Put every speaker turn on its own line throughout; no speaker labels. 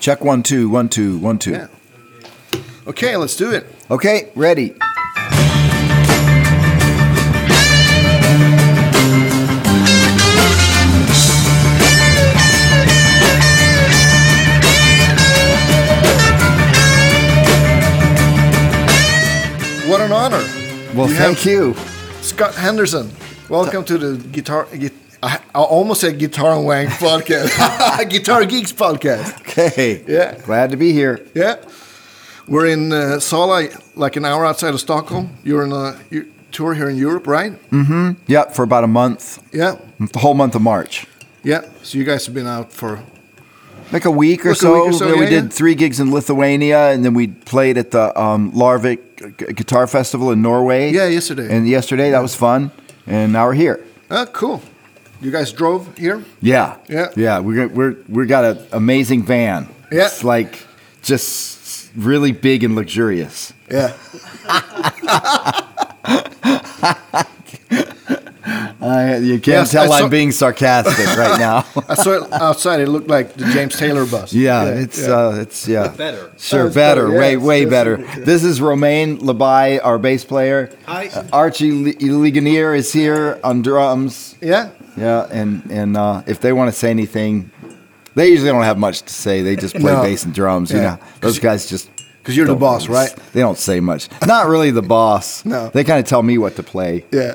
Check one, two, one, two, one, two.
Yeah. Okay, let's do it.
Okay, ready.
What an honor.
Well,
You
thank
have-
you.
Scott Henderson, welcome to the guitar. Git, I, I almost said guitar and wank podcast, guitar geeks podcast.
Okay.
Yeah.
Glad to be here.
Yeah, we're in uh, Sala, like an hour outside of Stockholm. You're on a you- tour here in Europe, right?
Yep, for about a month,
Yeah,
the whole month of March.
yeah. So you guys have been out for
Like a week or
Like a
so.
week or so,
where we
yeah,
did
yeah.
three gigs in Lithuania, and then we played at the um, Larvik Gu- Guitar Festival in Norway.
Yeah, yesterday.
And yesterday, that was fun. And now we're here.
ah, cool. You guys drove here.
Yeah.
Yeah.
Yeah. We're gonna- we're we got an amazing van.
Yeah.
It's like just really big and luxurious.
Yeah,
I you can't
Yes,
tell
I
I'm
saw-
being sarcastic right now.
I saw it outside. It looked like the James Taylor bus.
Yeah, it's Uh, it's yeah
Better.
Sure,
Oh, it's
better,
better, yeah,
way
it's-
way
it's-
better.
yeah.
This is Romain Labai, our bass player.
Hi.
Uh, Archie Le- Ligonier is here on drums.
yeah.
Yeah, and and uh, if they want to say anything, they usually don't have much to say. They just play
No.
bass and drums. You
Yeah.
know, those guys just
'Cause you're the
don't
boss,
really s-
right?
They don't say much. Not really the boss.
No.
they kind of tell me what to play.
Yeah.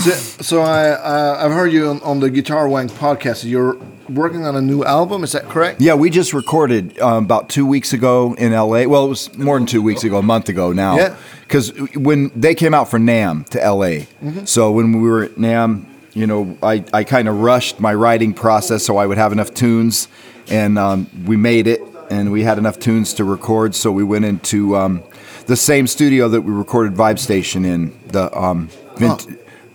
so, so I uh, I've heard you on, on the Guitar Wank podcast. You're working on a new album. Is that correct?
Yeah, we just recorded um, about two weeks ago in LA. Well, it was more than two weeks ago, a month ago now.
Yeah.
Because when they came out from NAM to LA, so when we were at NAM, you know, I, I kind of rushed my writing process so I would have enough tunes, and um, we made it, and we had enough tunes to record, so we went into um, the same studio that we recorded Vibe Station in. The um, Vint-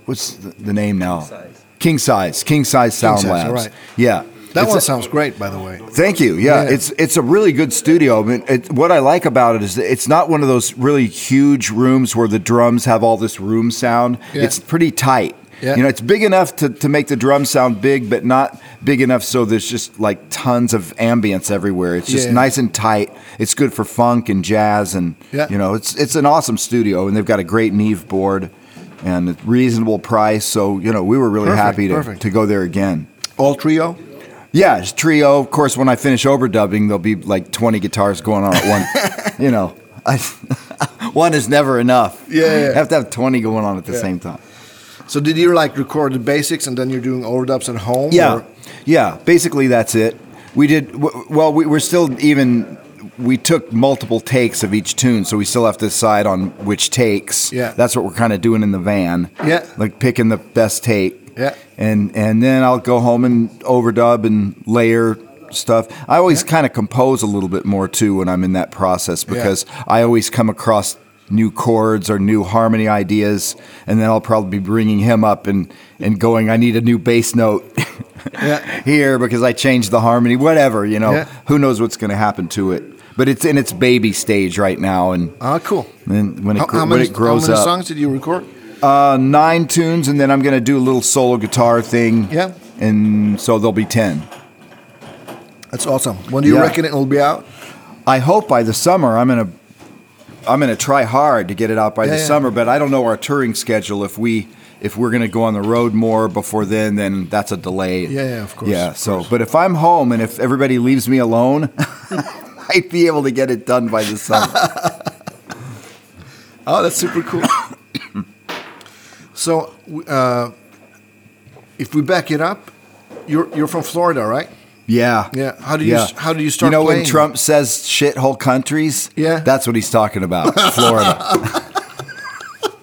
what's the, the name now? King Size, King Size Sound
Size,
Labs.
right.
Yeah.
That
It's
one
a-
sounds great, by the way.
Thank you. Yeah,
Yeah.
it's it's a really good studio. I mean, it, what I like about it is that it's not one of those really huge rooms where the drums have all this room sound.
Yeah.
It's pretty tight.
Yeah.
You know, it's big enough to, to make the drum sound big, but not big enough so there's just like tons of ambience everywhere. It's just
Yeah.
nice and tight. It's good for funk and jazz, and
Yeah.
you know, it's it's an awesome studio, and they've got a great Neve board and a reasonable price. So you know, we were really
Perfect,
happy to,
perfect.
to go there again.
All trio.
Yeah, it's trio. Of course, when I finish overdubbing, there'll be like 20 guitars going on at one. you know, I, one is never enough.
Yeah, yeah.
You have to have 20 going on at the
Yeah.
same time.
So did you like record the basics and then you're doing overdubs at home?
Yeah,
or-
yeah. Basically, that's it. We did w- well. We, we're still even. We took multiple takes of each tune, so we still have to decide on which takes.
Yeah.
that's what we're kind of doing in the van.
Yeah.
like picking the best take.
Yeah.
and and then I'll go home and overdub and layer stuff. I always kind of compose a little bit more too when I'm in that process because I always come across new chords or new harmony ideas, and then I'll probably be bringing him up and and going. I need a new bass note.
yeah,
here because I changed the harmony, whatever, you know.
Yeah.
Who knows what's going to happen to it. But it's in its baby stage right now and
Ah, cool.
and when it,
How,
gr-
how
when
many,
it grows
how many
up.
songs did you record?
Uh, 9 tunes and then I'm going to do a little solo guitar thing.
Yeah.
And so there'll be 10.
That's awesome. When do you
Yeah.
reckon it will be out?
I hope by the summer I'm going to I'm going to try hard to get it out by
Yeah,
the
yeah.
summer, but I don't know our touring schedule if we if we're going to go on the road more before then, then that's a delay.
Yeah, yeah, of course,
Yeah,
of
so but if I'm home and if everybody leaves me alone, I'd be able to get it done by the summer.
Oh, that's super cool. so, w- uh, if we back it up, you're you're from Florida, right?
Yeah.
Yeah. How do you- how do you start
You know when
playing?
Trump says shithole countries?
Yeah.
That's what he's talking about. Florida.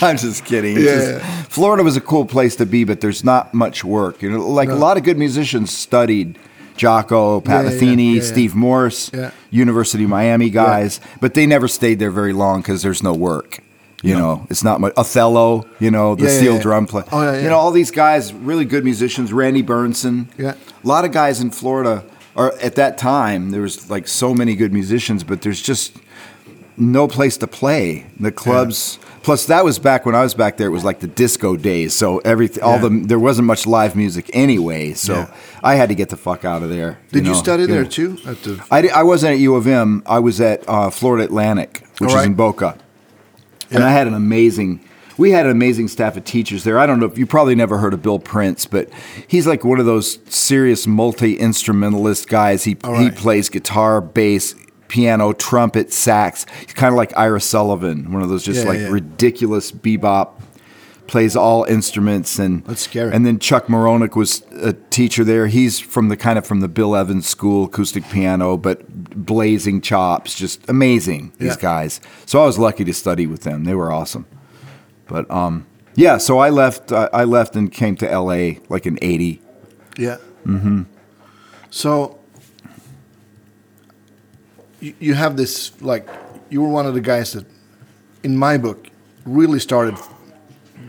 I'm just kidding. It's
Yeah.
just- Florida was a cool place to be, but there's not much work. You know, like a lot of good musicians studied Jocko, Pat
Yeah, yeah, yeah.
Metheny,
Yeah, yeah.
Steve Morse,
Yeah.
University of Miami guys, but they never stayed there very long because there's no work. You know, it's not much. Othello, you know, the
Yeah, yeah,
steel
yeah.
drum player.
Oh, yeah,
You
yeah.
know, all these guys, really good musicians. Randy Burnson.
Yeah.
A lot of guys in Florida are at that time. There was like so many good musicians, but there's just no place to play. The clubs, Plus, that was back when I was back there. It was like the disco days, so everything, all
Yeah.
the there wasn't much live music anyway. So
Yeah.
I had to get the fuck out of there.
Did you,
know,
study
you
there
know.
too? At the
I, di- I wasn't at U of M. I was at uh, Florida Atlantic, which
All
is in
right.
Boca. And I had an amazing, we had an amazing staff of teachers there. I don't know if you probably never heard of Bill Prince, but he's like one of those serious multi instrumentalist guys. He
All
he
right.
plays guitar, bass, piano, trumpet, sax. He's kind of like Ira Sullivan, one of those just
Yeah,
like
yeah.
ridiculous bebop. Plays all instruments and
That's scary.
And then Chuck Moronic was a teacher there. He's from the kind of from the Bill Evans school, acoustic piano, but blazing chops, just amazing. These
Yeah.
guys. So I was lucky to study with them. They were awesome. But um, yeah. So I left. I, I left and came to L.A. like in '80.
yeah. Mm-hmm. So you, you have this like you were one of the guys that, in my book, really started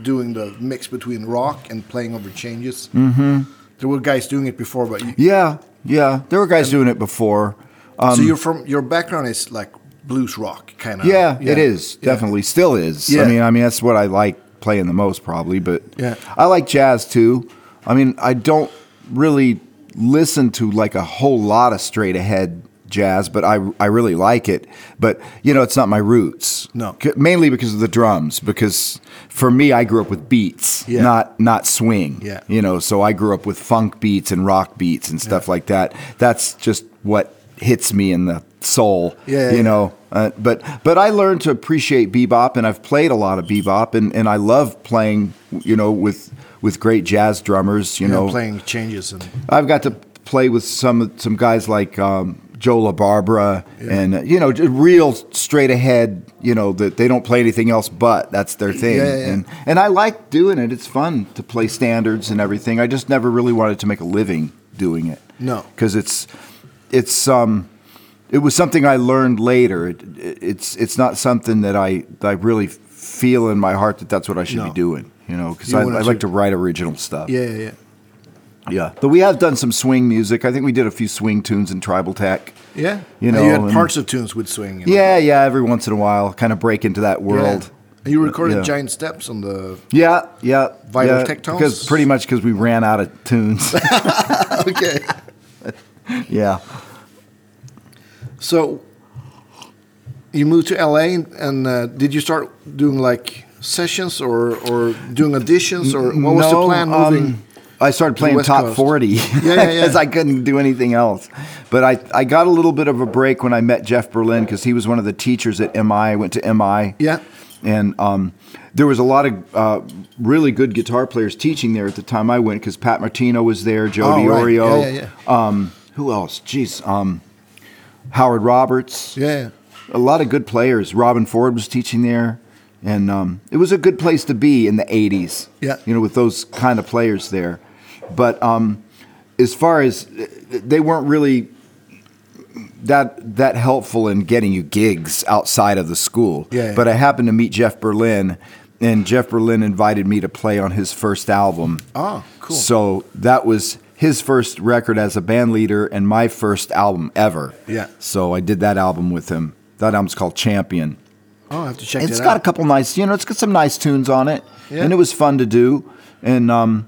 doing the mix between rock and playing over changes. Mm-hmm. There were guys doing it before, but you,
Yeah, yeah. There were guys doing it before. Um,
so you're from your background is like blues rock kind of.
yeah, it is definitely still is. I
Yeah.
mean, I mean that's what I like playing the most probably. But
Yeah.
I like jazz too. I mean, I don't really listen to like a whole lot of straight ahead jazz, but I I really like it. But you know, it's not my roots.
No.
C- mainly because of the drums. Because for me, I grew up with beats,
Yeah.
not not swing.
Yeah.
you know, so I grew up with funk beats and rock beats and stuff like that. That's just what hits me in the soul
Yeah,
you
yeah.
know. Uh, but but I learned to appreciate bebop, and I've played a lot of bebop, and, and I love playing, you know, with with great jazz drummers. You
You know,
know,
playing changes and
I've got to play with some some guys like um, Joe LaBarbera, and uh, you know, j- real straight ahead. You know that they don't play anything else, but that's their thing.
Yeah, yeah, yeah.
And and I like doing it. It's fun to play standards and everything. I just never really wanted to make a living doing it.
No.
because it's it's um. It was something I learned later. It, it- it's it's not something that I that I really feel in my heart that that's what I should be
No.
doing. You know, because
You
I,
wanted
I like to
to-
write original stuff.
yeah, yeah, yeah.
Yeah, but we have done some swing music. I think we did a few swing tunes in Tribal Tech.
Yeah,
You
And
know,
you had
and-
parts of tunes with swing. and-
Yeah, yeah. Every once in a while, kind of break into that
Yeah.
world.
And you recorded
Yeah.
giant steps on the.
Yeah, yeah.
Vital
yeah,
Tectones?
Because pretty much because we ran out of tunes.
okay.
yeah.
So you moved to LA, and, and uh, did you start doing like sessions or or doing auditions or what was the
No,
plan
um,
moving?
I started
the
playing
West
top
Coast?
40
yeah, yeah.
because I couldn't do anything else. But I, I got a little bit of a break when I met Jeff Berlin because he was one of the teachers at MI. I went to MI.
Yeah.
And um, there was a lot of uh, really good guitar players teaching there at the time I went because Pat Martino was there, Joe
Oh, right.
Diorio.
Yeah, yeah,
Um, who else? Jeez. Um, Howard Roberts
yeah.
a lot of good players. Robin Ford was teaching there, and um, it was a good place to be in the '80s.
Yeah.
you know, with those kind of players there. But um, as far as uh, they weren't really that that helpful in getting you gigs outside of the school.
Yeah, yeah.
But I happened to meet Jeff Berlin, and Jeff Berlin invited me to play on his first album.
Oh, cool.
So that was his first record as a band leader and my first album ever.
Yeah.
So I did that album with him. That album's called Champion.
Oh, I have to check
It's
that
got a
out.
couple nice, you know, it's got some nice tunes on it,
Yeah.
and it was fun to do. And um,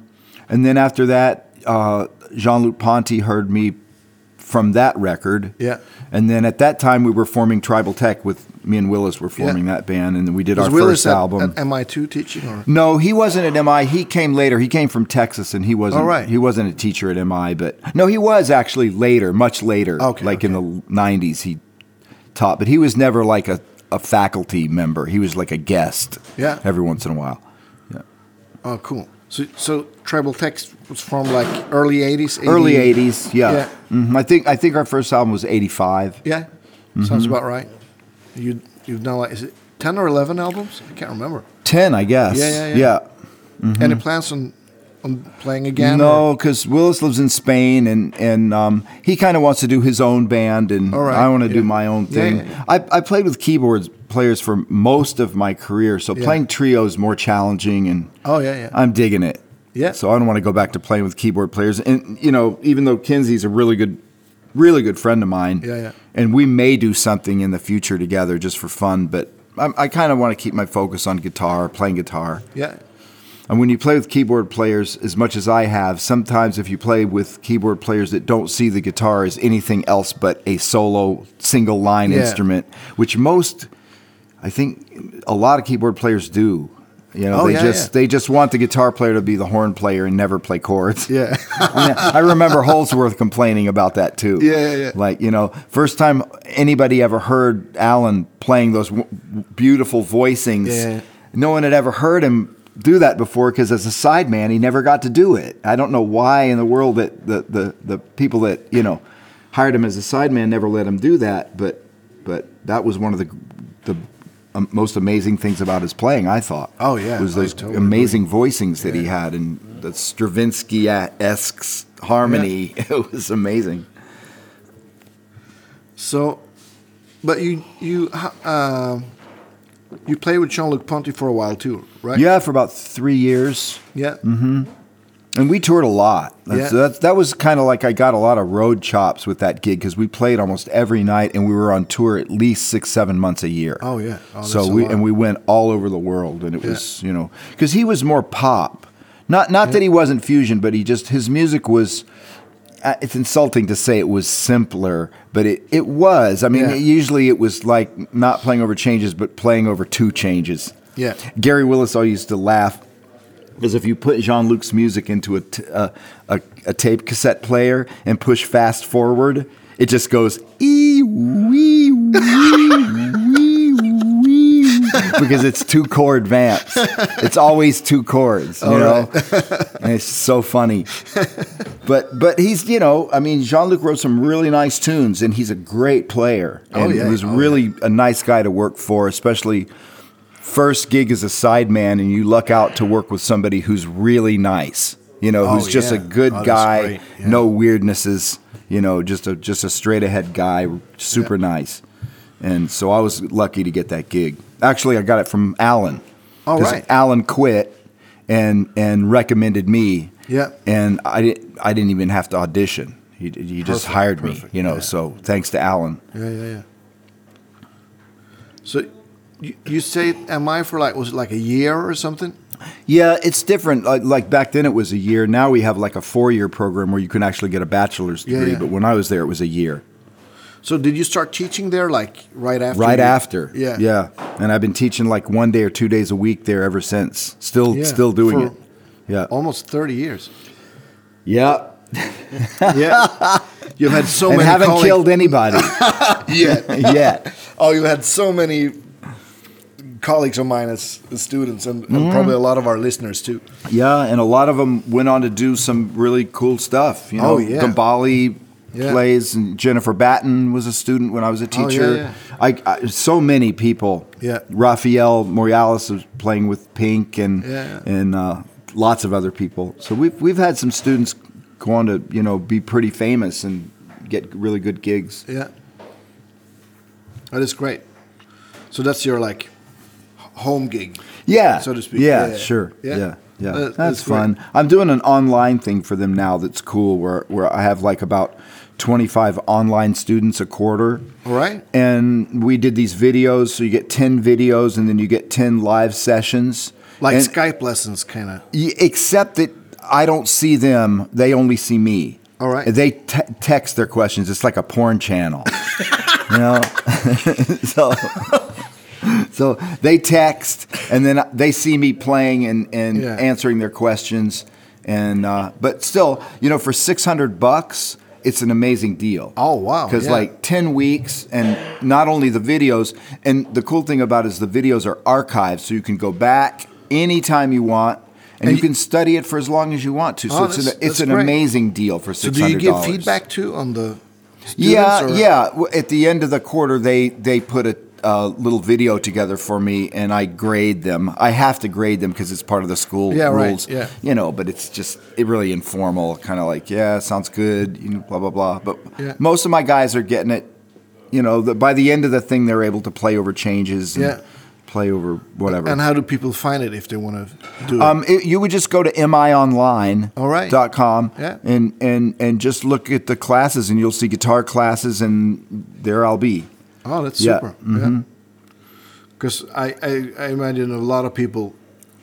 and then after that, uh, Jean Luc Ponty heard me from that record.
Yeah.
And then at that time, we were forming Tribal Tech with me and Willis were forming that band, and we did
Was
our
Willis
first
at,
album.
at MI2 teaching or?
No, he wasn't at MI. He came later. He came from Texas, and he wasn't.
All right.
He wasn't a teacher at MI, but no, he was actually later, much later.
Okay,
like in the '90s, he taught, but he was never like a, a faculty member. He was like a guest.
Yeah.
Every once in a while.
Oh, cool. So so tribal text was from like early '80s. 80,
Early '80s. Yeah.
Yeah.
Mhm. I think I think our first album was '85.
Yeah, sounds
Mm-hmm.
about right. You you've done like is it ten or eleven albums? I can't remember.
Ten, I guess.
Yeah, yeah, yeah. Any plans on on playing again?
Mm-hmm. No, because Willis lives in Spain, and and um, he kind of wants to do his own band, and
All right,
I want to
yeah.
do my own
Yeah,
thing.
yeah, yeah.
I, I played with keyboards players for most of my career, so
Yeah.
playing trio is more challenging, and
Oh, yeah, yeah.
I'm digging it.
Yeah.
so I don't want to go back to playing with keyboard players, and you know, even though Kinsey's a really good, really good friend of mine,
Yeah, yeah.
and we may do something in the future together just for fun, but I, I kind of want to keep my focus on guitar, playing guitar.
Yeah.
And when you play with keyboard players, as much as I have, sometimes if you play with keyboard players that don't see the guitar as anything else but a solo single line
Yeah.
instrument, which most, I think, a lot of keyboard players do. You know,
Oh,
they
yeah,
just
yeah.
they just want the guitar player to be the horn player and never play chords.
Yeah.
And I remember Holsworth complaining about that too.
Yeah, yeah, yeah.
Like you know, first time anybody ever heard Alan playing those w- beautiful voicings.
Yeah.
No one had ever heard him do that before because as a sideman, he never got to do it. I don't know why in the world that the the, the people that you know hired him as a sideman never let him do that. But but that was one of the the um, most amazing things about his playing. I thought.
Oh, yeah.
was
I
those
totally agree.
amazing voicings that he had and the Stravinsky esque harmony. It was amazing.
So, but you you uh, you played with Jean Luc Ponty for a while too, right?
Yeah, Mm-hmm. for about three years.
Yeah.
And we toured a lot. That's,
Yeah.
that, that was kind of like I got a lot of road chops with that gig because we played almost every night and we were on tour at least six, seven months a year.
Oh, yeah. Oh,
so
that's a
we
lot.
and we went all over the world and it
Yeah.
was you know because he was more pop, not not that he wasn't fusion, but he just his music was. uh, It's insulting to say it was simpler, but it, it was. I mean,
Yeah.
usually it was like not playing over changes, but playing over two changes.
Yeah.
Gary Willis always used to laugh because if you put Jean Luc's music into a, t- a, a, a tape cassette player and push fast forward, it just goes ee wee wee wee wee because it's two chord vamps. It's always two chords, you know. and it's so funny. But but he's you know I mean Jean Luc wrote some really nice tunes and he's a great player.
Oh,
and
yeah.
he was
Oh, yeah.
really a nice guy to work for, especially first gig as a sideman and you luck out to work with somebody who's really nice, you know,
Oh,
who's just a
yeah.
good
Oh, that's
guy,
great. Yeah.
no weirdnesses, you know, just a just a straight ahead guy, super nice. And so I was lucky to get that gig. Actually, I got it from Alan.
All
'Cause
Oh, right.
Alan quit and and recommended me.
Yeah.
And I didn't I didn't even have to audition. He, he just
Perfect,
hired me,
perfect,
you know.
yeah.
So thanks to Alan.
Yeah. Yeah. Yeah. So, you, you say MI for like was it like a year or something?
Yeah, it's different. Like, like back then, it was a year. Now we have like a four-year program where you can actually get a bachelor's
Yeah,
degree.
yeah.
But when I was there, it was a year.
So did you start teaching there like right after?
Right
you-
after.
Yeah.
yeah. And I've been teaching like one day or two days a week there ever since. Still,
Yeah,
still doing
for-
it. Yeah.
Almost thirty years.
yeah.
Yeah. You've had so
and
many.
haven't
colleagues-
killed anybody
yet.
yet.
Oh, you had so many colleagues of mine as as students, and, and probably
Mm-hmm.
a lot of our listeners too.
Yeah, and a lot of them went on to do some really cool stuff. You know,
Oh, yeah.
Gambale
Yeah. Oh,
plays, and Jennifer Batten was a student when I was a
yeah,
teacher. I, I so many people.
Yeah.
Rafael Morales was playing with Pink, and
Yeah.
and uh, lots of other people. So we've we've had some students go on to you know be pretty famous and get really good gigs.
Yeah, that is great. So that's your like h- home gig.
Yeah,
so to speak.
Yeah,
Yeah.
sure.
Yeah.
Yeah, yeah.
Uh,
That's,
that's great.
fun. I'm doing an online thing for them now. That's cool. Where where I have like about 25 online students a quarter.
All right.
And we did these videos. So you get 10 videos, and then you get 10 live sessions.
Like
And-
Skype lessons, kind of.
Y- except that I don't see them; they only see me.
All right.
They te- text their questions. It's like a porn channel, you know. so, so they text, and then they see me playing and and
Yeah.
answering their questions. And uh, but still, you know, for six hundred bucks, it's an amazing deal.
Oh, wow,
Because
yeah.
like ten weeks, and not only the videos. And the cool thing about it is the videos are archived, so you can go back anytime you want. And,
And
you
y-
can study it for as long as you want to. So
Oh,
it's an,
that's-
it's
that's
an
great.
amazing deal for
So
six
do you
hundred
give
dollars.
feedback too on the? Students
Yeah,
or-
yeah. W- At the end of the quarter, they they put a, a little video together for me, and I grade them. I have to grade them because it's part of the school
Yeah, right,
rules.
yeah.
you know. But it's just it really informal, kind of like yeah, sounds good, you know, blah blah blah. But
Yeah.
most of my guys are getting it. You know, the, by the end of the thing, they're able to play over changes. And
Yeah.
Play over whatever.
And how do people find it if they want to do it?
Um, it, you would just go to mionline.
All right.
Dot com.
Yeah.
And and and just look at the classes, and you'll see guitar classes, and there I'll be.
oh, that's
yeah, mm-hmm.
super. Yeah. because I, I, I imagine a lot of people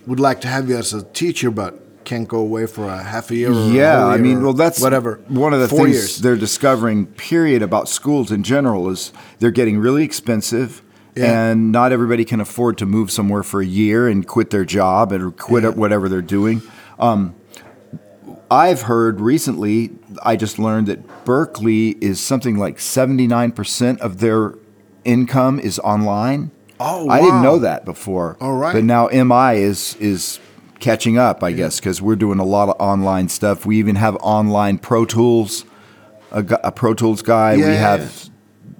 would like to have you as a teacher, but can't go away for a half a year. Or a
yeah
whole
i
year
mean
or
well that's
whatever.
one of the
Four
things
years.
they're discovering period about schools in general is they're getting really expensive
Yeah.
and not everybody can afford to move somewhere for a year and quit their job and quit
Yeah.
whatever they're doing um, i've heard recently i just learned that berkeley is something like 79% of their income is online
Oh,
i didn't
wow.
know that before
All right.
but now mi is is catching up i guess because we're doing a lot of online stuff we even have online pro tools a, gu- a pro tools guy we
Yeah.
have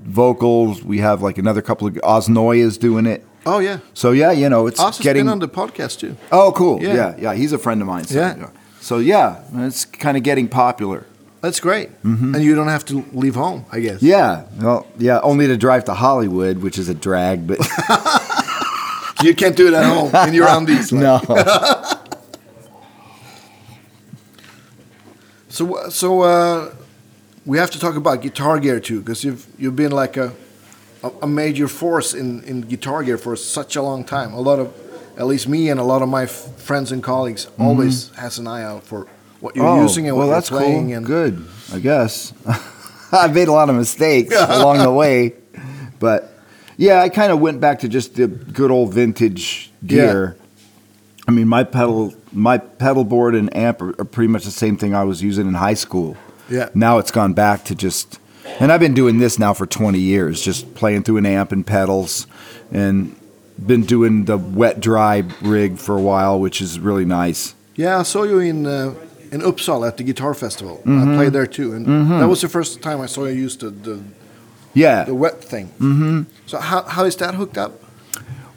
vocals we have like another couple of osnoy is doing it
Oh yeah,
so yeah you know it's
Oz has
getting
been on the podcast too.
oh cool yeah.
Yeah.
yeah he's a friend of mine so
Yeah.
so yeah it's kind of getting popular
That's great, and you don't have to leave home. I guess.
Mm-hmm. yeah well yeah only to drive to hollywood which is a drag but
You can't do it at home in your undies. like.
no
So uh, so uh, we have to talk about Guitar Gear too, because you've you've been like a a, a major force in, in Guitar Gear for such a long time. A lot of at least me and a lot of my f- friends and colleagues always has an eye out for what you're
Mm-hmm. Oh,
using and what
well,
you're
that's
playing.
cool.
And
good, I guess. I made a lot of mistakes along the way, but yeah, I kind of went back to just the good old vintage
Yeah.
gear. I mean, my pedal, my pedal board and amp are, are pretty much the same thing I was using in high school.
Yeah.
Now it's gone back to just, and I've been doing this now for 20 years, just playing through an amp and pedals, and been doing the wet dry rig for a while, which is really nice.
yeah, I saw you in uh, in Uppsala at the guitar festival. I
Mm-hmm.
played there too, and that was the first time I saw you use the the,
Yeah.
the wet thing. Mm-hmm. So how how is that hooked up?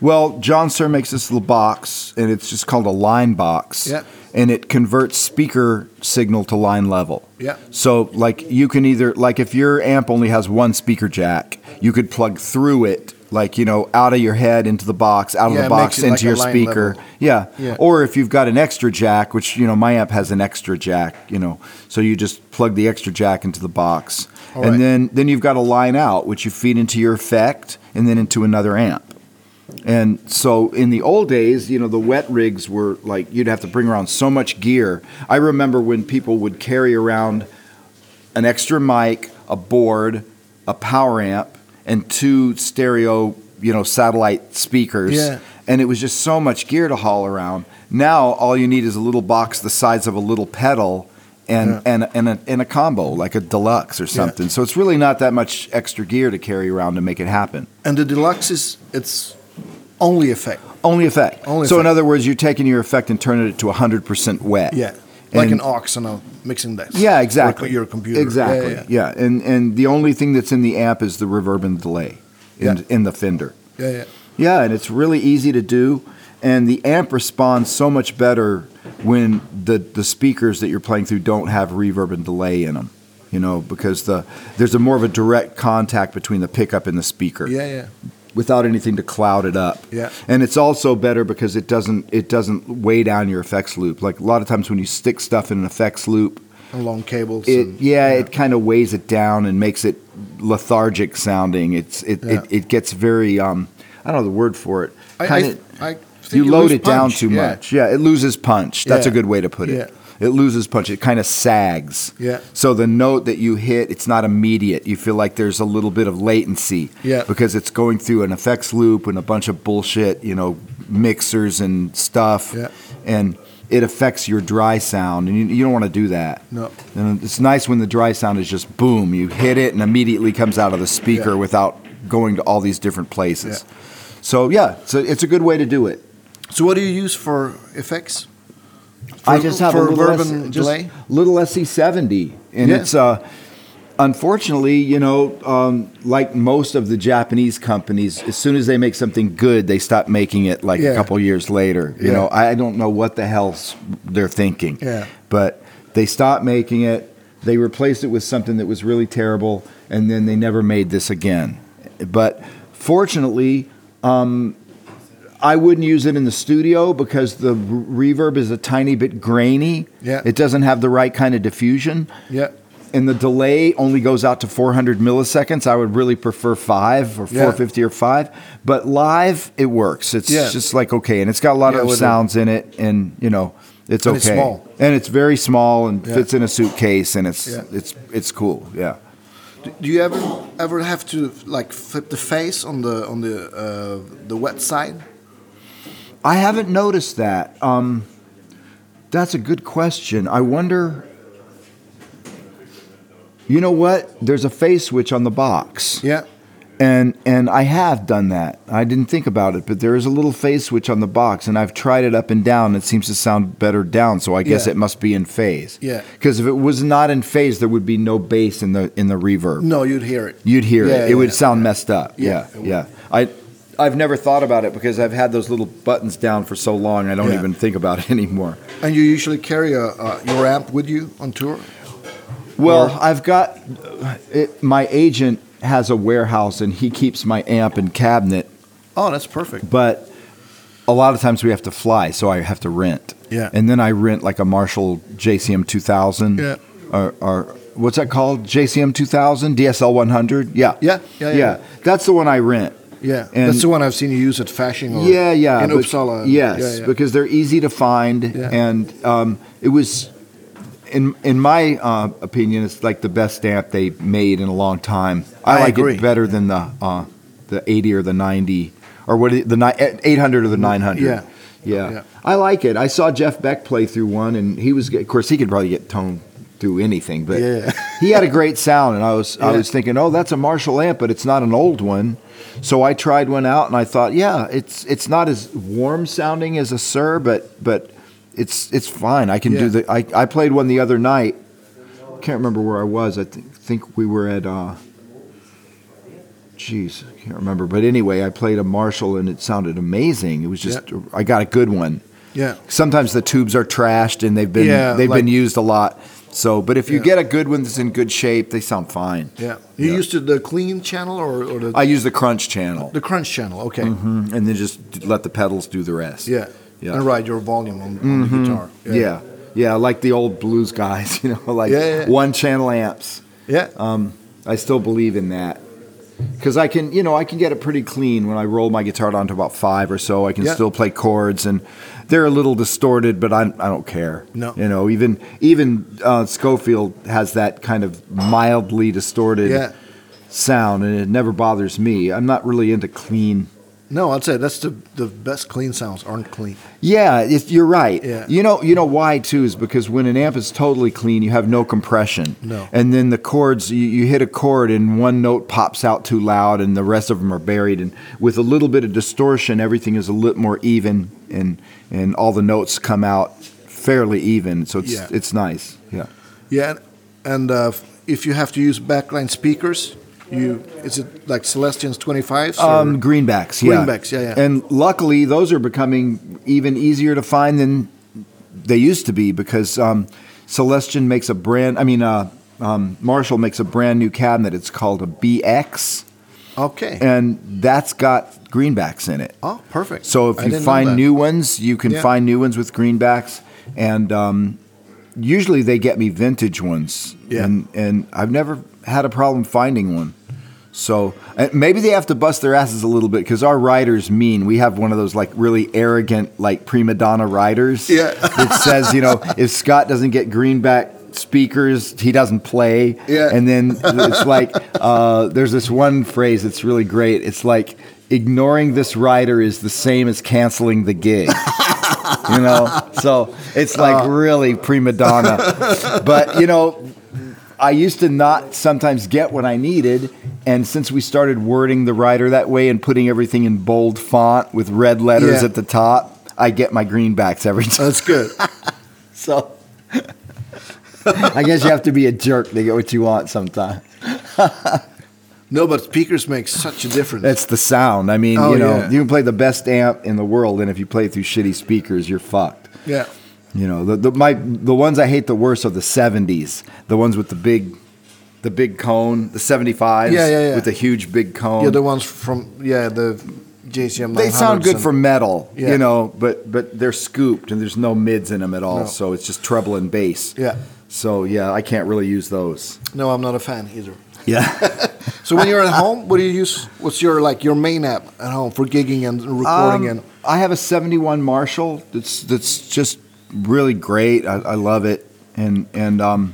Well, John Sir makes this little box, and it's just called a line box.
Yep.
And it converts speaker signal to line level.
Yep.
So, like, you can either, like, if your amp only has one speaker jack, you could plug through it, like, you know, out of your head into the box, out of
Yeah,
the
it
box
makes it
into
like a
your
line
speaker.
level.
Yeah.
Yeah.
Or if you've got an extra jack, which, you know, my amp has an extra jack, you know, so you just plug the extra jack into the box.
All
and
right.
then, then you've got a line out, which you feed into your effect and then into another amp. And so in the old days, you know, the wet rigs were like you'd have to bring around so much gear. I remember when people would carry around an extra mic, a board, a power amp, and two stereo, you know, satellite speakers.
Yeah.
And it was just so much gear to haul around. Now all you need is a little box the size of a little pedal and
Yeah.
and and a, and a combo like a deluxe or something. So it's really not that much extra gear to carry around to make it happen.
And the deluxe is it's only effect.
Only effect.
Only
so in
effect.
other words, you're taking your effect and turning it to 100% wet.
Yeah, like an
And-
aux on a mixing desk.
Yeah, exactly.
Or your computer.
Exactly.
Yeah, yeah,
yeah. And and the only thing that's in the amp is the reverb and delay in,
Yeah.
in the Fender.
yeah. yeah, yeah.
Yeah, and it's really easy to do. And the amp responds so much better when the, the speakers that you're playing through don't have reverb and delay in them, you know, because the there's a more of a direct contact between the pickup and the speaker
Yeah, yeah.
without anything to cloud it up.
Yeah.
And it's also better because it doesn't it doesn't weigh down your effects loop. Like a lot of times when you stick stuff in an effects loop,
And long cables.
it
and,
yeah, it kind of weighs it down and makes it lethargic sounding. It's it
Yeah.
it, it gets very um I don't know the word for it.
I,
Kinda-
I, I think
you load
lose
it down
punch.
too
Yeah.
much. Yeah, it loses punch. That's a
Yeah.
good way to put it. It loses punch. It kind of sags.
Yeah.
So the note that you hit, it's not immediate. You feel like there's a little bit of latency.
Yeah.
Because it's going through an effects loop and a bunch of bullshit, you know, mixers and stuff.
Yeah.
And it affects your dry sound, and you, you don't want to do that.
No.
And it's nice when the dry sound is just boom. You hit it and immediately comes out of the speaker
Yeah.
without going to all these different places. So yeah, so it's a good way to do it.
So what do you use for effects?
I
For-
just have
for
a little,
reverb
S-
and
just
delay?
little SC70, and
Yeah.
it's uh, unfortunately, you know, um, like most of the Japanese companies, as soon as they make something good, they stop making it like a
Yeah.
couple years later. You
Yeah.
know, I don't know what the hell's they're thinking,
Yeah.
but they stopped making it. They replaced it with something that was really terrible, and then they never made this again. But fortunately, um, I wouldn't use it in the studio because the re- reverb is a tiny bit grainy.
Yeah.
It doesn't have the right kind of diffusion.
Yeah.
and the delay only goes out to 400 milliseconds. I would really prefer five or
Yeah.
450 or five, but live it works. It's
Yeah.
just like okay, and it's got a lot
Yeah,
of
with the-
sounds in it, and you know it's okay,
And it's small.
and it's very small and
Yeah.
fits in a suitcase, and it's
Yeah.
it's it's cool. Yeah,
Do you ever ever have to like flip the face on the on the uh, the wet side?
I haven't noticed that. Um, that's a good question. I wonder. You know what? There's a face switch on the box.
Yeah.
and and I have done that. I didn't think about it, but there is a little phase switch on the box, and I've tried it up and down. It seems to sound better down, so I guess
Yeah.
it must be in phase.
Yeah.
Because if it was not in phase, there would be no bass in the in the reverb.
No, you'd hear it.
You'd hear
Yeah,
it. It
yeah,
would
yeah.
sound messed up.
Yeah,
Yeah,
it would.
yeah. I I've never thought about it because I've had those little buttons down for so long. I don't
Yeah.
even think about it anymore.
And you usually carry a, uh, your amp with you on tour.
Well,
Or-
I've got uh, it, my agent has a warehouse, and he keeps my amp and cabinet
Oh, that's perfect.
but a lot of times we have to fly, so I have to rent.
Yeah.
And then I rent like a Marshall JCM 2000.
Yeah.
Or, or what's that called? JCM 2000, DSL 100. Yeah.
Yeah, yeah, yeah.
That's the one I rent.
Yeah,
And-
that's the one I've seen you use at Fashing. Or
yeah, yeah.
in
but-
Uppsala.
Yes,
yeah, yeah.
because they're easy to find,
Yeah.
and um, it was. In, in my uh, opinion, it's like the best amp they made in a long time. I,
I
like
agree.
it better than the uh, the eighty or the ninety or what is- the ni- eh, eight hundred or the nine hundred.
Yeah.
yeah,
Yeah.
I like it. I saw Jeff Beck play through one, and he was. get- Of course, he could probably get tone through anything, but
Yeah.
he had a great sound, and I was I
Yeah.
was thinking, oh, that's a Marshall amp, but it's not an old one. So I tried one out, and I thought, yeah, it's it's not as warm sounding as a Sir, but but it's it's fine. I can
Yeah.
do the. I, I played one the other night. Can't remember where I was. I think think we were at. uh Jeez, I can't remember. But anyway, I played a Marshall, and it sounded amazing. It was just I got a good one
yeah,
sometimes the tubes are trashed and they've been
Yeah,
they've
like-
been used a lot. So, but if you
Yeah.
get a good one that's in good shape, they sound fine.
yeah. You
Yeah.
used to the clean channel or, or the
I use the crunch channel
the crunch channel. Okay,
Mhm, and then just d- let the pedals do the rest.
yeah.
Yeah.
and ride your volume on, on the guitar.
yeah, yeah, like the old blues guys, you know, like
Yeah, yeah, yeah.
one channel amps.
yeah.
Um, I still believe in that because I can, you know, I can get it pretty clean when I roll my guitar down to about five or so. I can
Yeah.
still play chords, and they're a little distorted, but I, I don't care.
No.
you know, even even uh, Schofield has that kind of mildly distorted
Yeah.
sound, and it never bothers me. I'm not really into clean.
No, I'd say that's the the best clean sounds aren't clean.
Yeah, if you're right.
Yeah.
You know, you know why too is because when an amp is totally clean, you have no compression.
No.
And then the chords, you, you hit a chord and one note pops out too loud, and the rest of them are buried. And with a little bit of distortion, everything is a little more even, and and all the notes come out fairly even. So it's
Yeah.
it's nice. Yeah.
Yeah, and, and uh, if you have to use backline speakers, you is it like Celestians twenty fives?
Um, greenbacks, yeah.
Greenbacks, yeah, yeah.
And luckily, those are becoming even easier to find than they used to be because um, Celestion makes a brand. I mean, uh, um, Marshall makes a brand new cabinet. It's called a BX,
okay.
and that's got greenbacks in it.
oh, perfect.
So if
I
you
didn't know
find
that.
new ones, you can
Yeah.
find new ones with greenbacks, and um, usually they get me vintage ones.
Yeah.
And and I've never had a problem finding one. So uh, maybe they have to bust their asses a little bit because our riders mean we have one of those like really arrogant like prima donna riders.
Yeah.
that says you know if Scott doesn't get greenback speakers he doesn't play.
Yeah.
And then it's like uh, there's this one phrase that's really great. It's like ignoring this rider is the same as canceling the gig. you know, so it's like
Uh.
really prima donna. but you know, I used to not sometimes get what I needed, and since we started wording the rider that way and putting everything in bold font with red letters
Yeah.
at the top. I get my greenbacks every time.
that's good.
So I guess you have to be a jerk to get what you want sometimes.
no, but speakers make such a difference.
That's the sound. I mean,
Oh,
you know,
yeah.
you can play the best amp in the world, and if you play through shitty speakers, you're fucked.
yeah.
You know, the, the my the ones I hate the worst are the '70s, the ones with the big, the big cone, the '75s,
Yeah, yeah, yeah.
with the huge big cone.
Yeah, the ones from yeah the JCM.
they sound
900s
good
and-
for metal,
Yeah.
you know, but but they're scooped and there's no mids in them at all,
No.
so it's just treble and bass.
Yeah.
So yeah, I can't really use those.
No, I'm not a fan either.
Yeah.
So when you're at home, what do you use? What's your like your main app at home for gigging and
Um,
recording and
I have a 71 Marshall that's that's just really great. I, I love it. And and um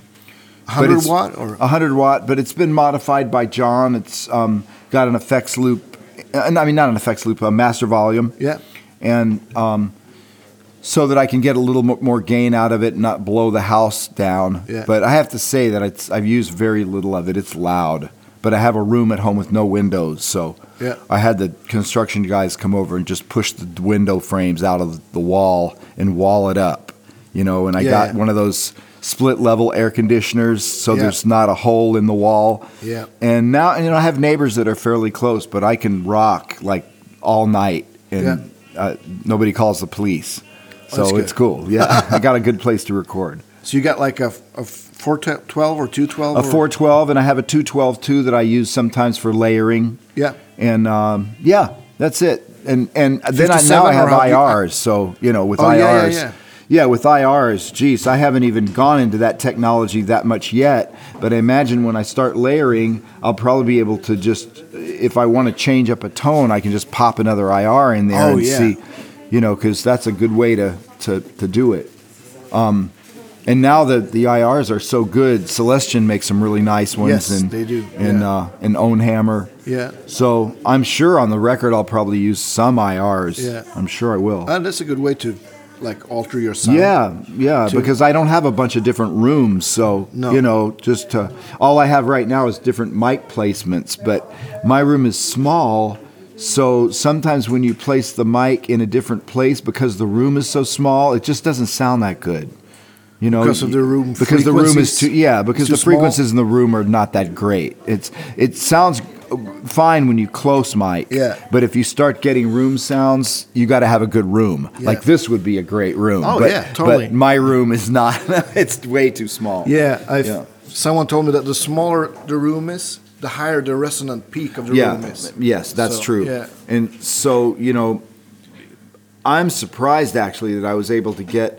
but
100
it's-
watt or
100 watt, but it's been modified by John. It's um got an effects loop. uh, I mean not an effects loop, a master volume.
yeah.
and um, so that I can get a little mo- more gain out of it and not blow the house down.
Yeah.
But I have to say that it's, I've used very little of it. It's loud, but I have a room at home with no windows, so
Yeah.
I had the construction guys come over and just push the window frames out of the wall and wall it up, you know. And I
Yeah,
got
yeah.
one of those split level air conditioners, so
Yeah.
there's not a hole in the wall.
Yeah.
And now, and, you know, I have neighbors that are fairly close, but I can rock like all night, and uh, nobody calls the police.
Oh, that's
So
good.
it's cool. Yeah, I got a good place to record.
So you got like a a 412 or 212
A
or-
412, and I have a 212 too that I use sometimes for layering.
Yeah.
And um, yeah, that's it. And and then I, now
57
I have
or how do you-
IRs. So you know, with
Oh,
IRs,
yeah, yeah, yeah.
Yeah, with IRs, geez, I haven't even gone into that technology that much yet. But I imagine when I start layering, I'll probably be able to just, if I want to change up a tone, I can just pop another IR in there
Oh,
and
yeah.
see, you know, because that's a good way to to to do it. Um, and now that the IRs are so good, Celestion makes some really nice ones.
Yes,
and
they do,
And
yeah.
uh, and Own Hammer.
Yeah.
So I'm sure on the record I'll probably use some IRs.
Yeah.
I'm sure I will.
And Uh, that's a good way to like alter your sound.
yeah, yeah,
to-
because I don't have a bunch of different rooms, so
No.
you know, just uh all I have right now is different mic placements. But my room is small, so sometimes when you place the mic in a different place because the room is so small, it just doesn't sound that good. You know,
Because of the room
because the room is
frequencies?
too yeah because
Too
the
small?
frequencies in the room are not that great. It's it sounds fine when you close mic,
Yeah.
But if you start getting room sounds, you got to have a good room.
Yeah.
Like this would be a great room.
Oh,
but,
yeah, totally.
But my room is not. it's way too small.
Yeah, I
Yeah.
someone told me that the smaller the room is, the higher the resonant peak of the
Yeah.
room is.
Yes, that's
So,
true.
Yeah.
And so you know, I'm surprised actually that I was able to get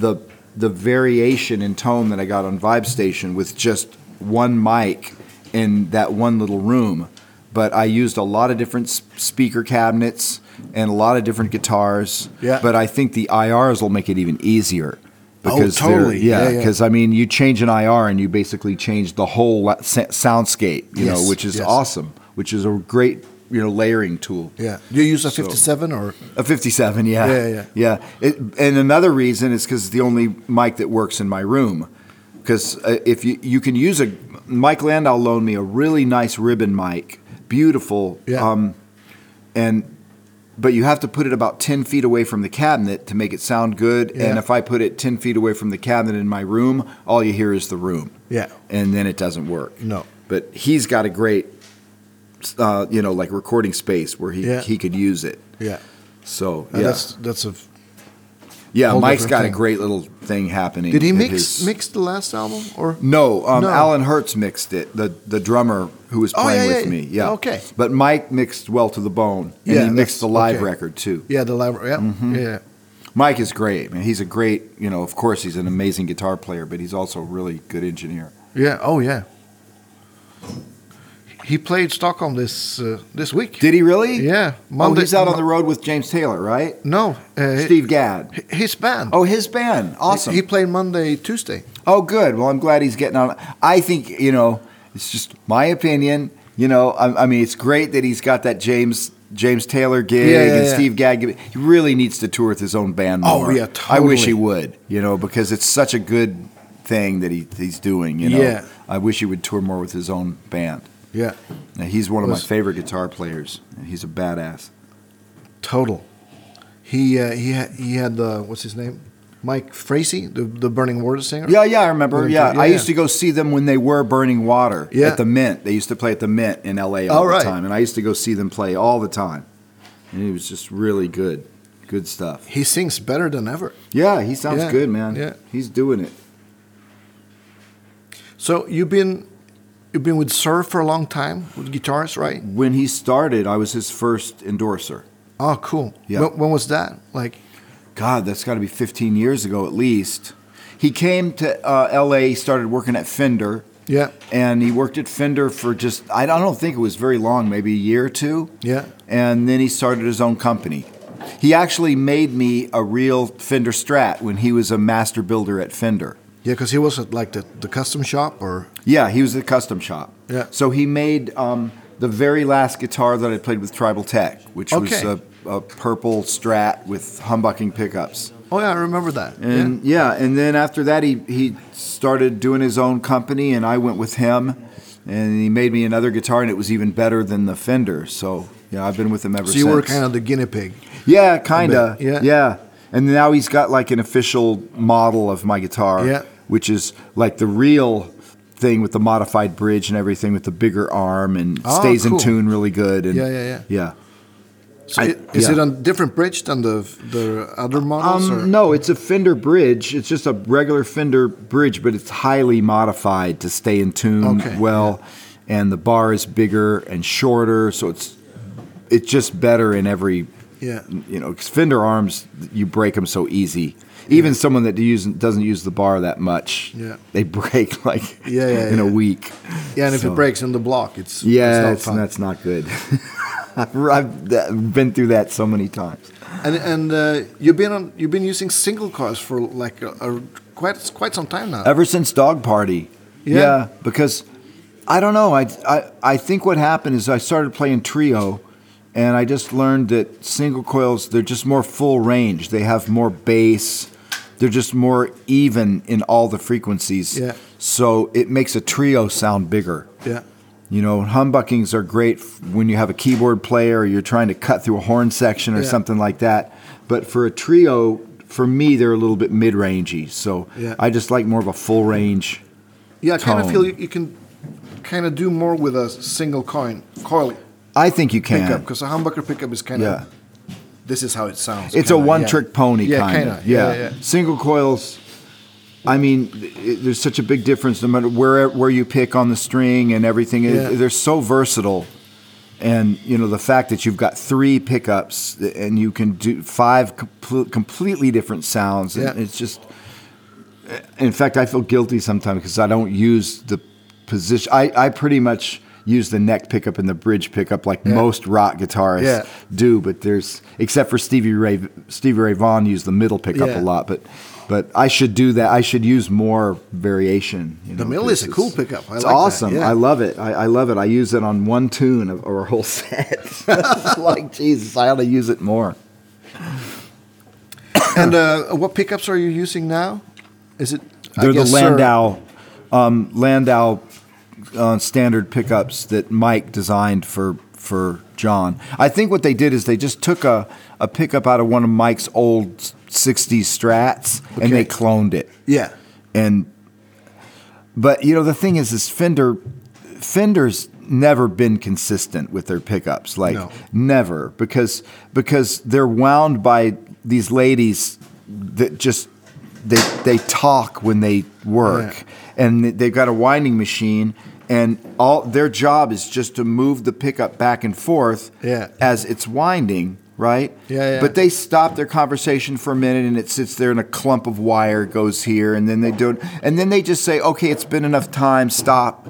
the the variation in tone that I got on Vibe Station with just one mic in that one little room. But I used a lot of different s- speaker cabinets and a lot of different guitars.
Yeah.
But I think the IRs will make it even easier.
Oh,
they're-
totally.
Yeah,
Yeah, yeah.
because I mean, you change an IR and you basically change the whole la- sa- soundscape, you
Yes,
know, which is
yes.
awesome, which is a great, you know, layering tool.
Yeah. Do you use a
So-
57 or
A 57, yeah.
Yeah, yeah.
Yeah. It, and another reason is because it's the only mic that works in my room. Because uh, if you, you can use a, Mike Landau loaned me a really nice ribbon mic, beautiful.
Yeah.
Um, and, but you have to put it about 10 feet away from the cabinet to make it sound good.
Yeah.
And if I put it 10 feet away from the cabinet in my room, all you hear is the room.
Yeah.
And then it doesn't work.
No.
But he's got a great, uh, you know, like recording space where he,
Yeah.
he could use it.
Yeah.
So
Uh,
yeah,
That's that's a
yeah.
whole
Mike's
different
got a
thing.
great little thing happening.
Did he
at
mix
his-
mix the last album or
No, um,
No.
Alan Hertz mixed it. The the drummer who was
Oh,
playing
yeah,
with
yeah.
me. Yeah.
Okay.
But Mike mixed well to the bone, and
Yeah,
he mixed
that's-
the live
okay.
record too.
Yeah, the library. Yeah.
Mm-hmm.
Yeah.
Mike is great, man. He's a great, you know. Of course, he's an amazing guitar player, but he's also a really good engineer.
Yeah, oh yeah. He played Stockholm this uh, this week.
Did he really?
Yeah,
oh, he's out on the road with James Taylor, right?
No, uh,
Steve Gadd.
hi- His band.
Oh, his band. Awesome.
He, he played Monday, Tuesday.
Oh, good. Well, I'm glad he's getting on. I think you know, it's just my opinion. You know, I, I mean, it's great that he's got that James James Taylor gig
Yeah, yeah,
and
yeah.
Steve Gadd. gig. He really needs to tour with his own band
Oh,
more.
yeah,
I wish
totally.
he would. You know, because it's such a good thing that he he's doing. You know,
Yeah.
I wish he would tour more with his own band.
Yeah,
Now, he's one of my
Was-
favorite guitar players, and he's a badass.
total. He uh, he ha- he had uh, what's his name, Mike Frazee, the the Burning Water singer.
Yeah, yeah, I remember.
Burning
Yeah,
Water,
I
yeah,
used to go see them when they were Burning Water
Yeah.
at the Mint. They used to play at the Mint in LA all
All
the
right.
time, and I used to go see them play all the time. And it was just really good, good stuff.
He sings better than ever.
Yeah, he sounds
Yeah,
good, man.
yeah.
he's doing it.
So you've been you've been with Sir for a long time with guitars, right?
When he started, I was his first endorser.
Oh, cool.
Yeah.
When, when was that? Like,
God, that's got to be 15 years ago at least. He came to uh, L.A. started working at Fender.
Yeah.
and he worked at Fender for just I don't- I don't think it was very long, maybe a year or two.
Yeah.
and then he started his own company. He actually made me a real Fender Strat when he was a master builder at Fender.
Yeah, because he was at like the, the custom shop or
Yeah, he was at the custom shop.
Yeah.
So he made um, the very last guitar that I played with Tribal Tech, which
Okay.
was a, a purple Strat with humbucking pickups.
oh yeah, I remember that.
And yeah. and then after that he he started doing his own company and I went with him and he made me another guitar and it was even better than the Fender. So, yeah, I've been with him ever
yeah. So
since.
you were kind of the guinea pig.
Yeah, kind of.
Yeah.
Yeah. Yeah. And now he's got like an official model of my guitar,
Yeah.
which is like the real thing with the modified bridge and everything with the bigger arm and
Oh,
stays
cool.
in tune really good. And
Yeah, yeah, yeah.
Yeah.
So
I-
it, is
yeah.
it on different bridge than the the other models? or?
Um, no, it's a Fender bridge. It's just a regular Fender bridge, but it's highly modified to stay in tune
Okay,
well, and the bar is bigger and shorter, so it's it's just better in every
Yeah.
you know 'cause Fender arms you break them so easy. Even someone that use, doesn't use the bar that much,
Yeah.
they break like
Yeah, yeah,
in a
yeah.
week.
Yeah, and if
So-
it breaks in the block, it's
yeah,
it's
it's
not fun.
that's not good. I've, I've been through that so many times.
And and uh, you've been on you've been using single cars for like a, a, quite quite some time now.
Ever since Dog Party.
Yeah.
Yeah. because I don't know. I, I, I think what happened is I started playing trio and I just learned that single coils, they're just more full range. They have more bass. They're just more even in all the frequencies.
Yeah.
So it makes a trio sound bigger.
yeah,
You know, humbuckings are great f- when you have a keyboard player or you're trying to cut through a horn section or
Yeah.
something like that. But for a trio, for me, they're a little bit mid rangey. So
Yeah.
I just like more of a full range.
yeah. I kind of
Tone.
feel you, you can kind of do more with a single coin coil
I think you can.
pickup because a humbucker pickup is kind of
Yeah.
this is how it sounds.
It's a
kinda,
one
yeah.
trick pony
Yeah,
kind
kinda,
of.
yeah,
Yeah.
yeah.
Single coils. I mean, it, there's such a big difference no matter where where you pick on the string and everything. It-
Yeah.
they're so versatile, and you know the fact that you've got three pickups and you can do five comple- completely different sounds. and
Yeah.
It's just. In fact, I feel guilty sometimes because I don't use the position. I, I pretty much use the neck pickup and the bridge pickup like most rock guitarists
Yeah.
do, but there's except for Stevie Ray Stevie Ray Vaughan used the middle pickup
Yeah.
a lot, but but I should do that. I should use more variation. you
The
know,
middle
'cause
is a
it's-
cool pickup. I
it's
like that,
awesome.
yeah.
I love it. I, I love it. I use it on one tune of, or a whole set. It's like Jesus, I ought to use it more.
And uh, what pickups are you using now? Is it I
They're the
guess, sir-
Landau, um, Landau uh, standard pickups that Mike designed for for John. I think what they did is they just took a, a pickup out of one of Mike's old '60s Strats and
Okay.
they cloned it.
Yeah,
And but you know the thing is, is Fender Fender's never been consistent with their pickups, like
No.
never, because because they're wound by these ladies that just they they talk when they work, and they've got a winding machine. And all their job is just to move the pickup back and forth
Yeah.
as it's winding, right?
Yeah, yeah.
But they stop their conversation for a minute and it sits there in a clump of wire goes here and then they do it and then they just say, Okay, it's been enough time, stop.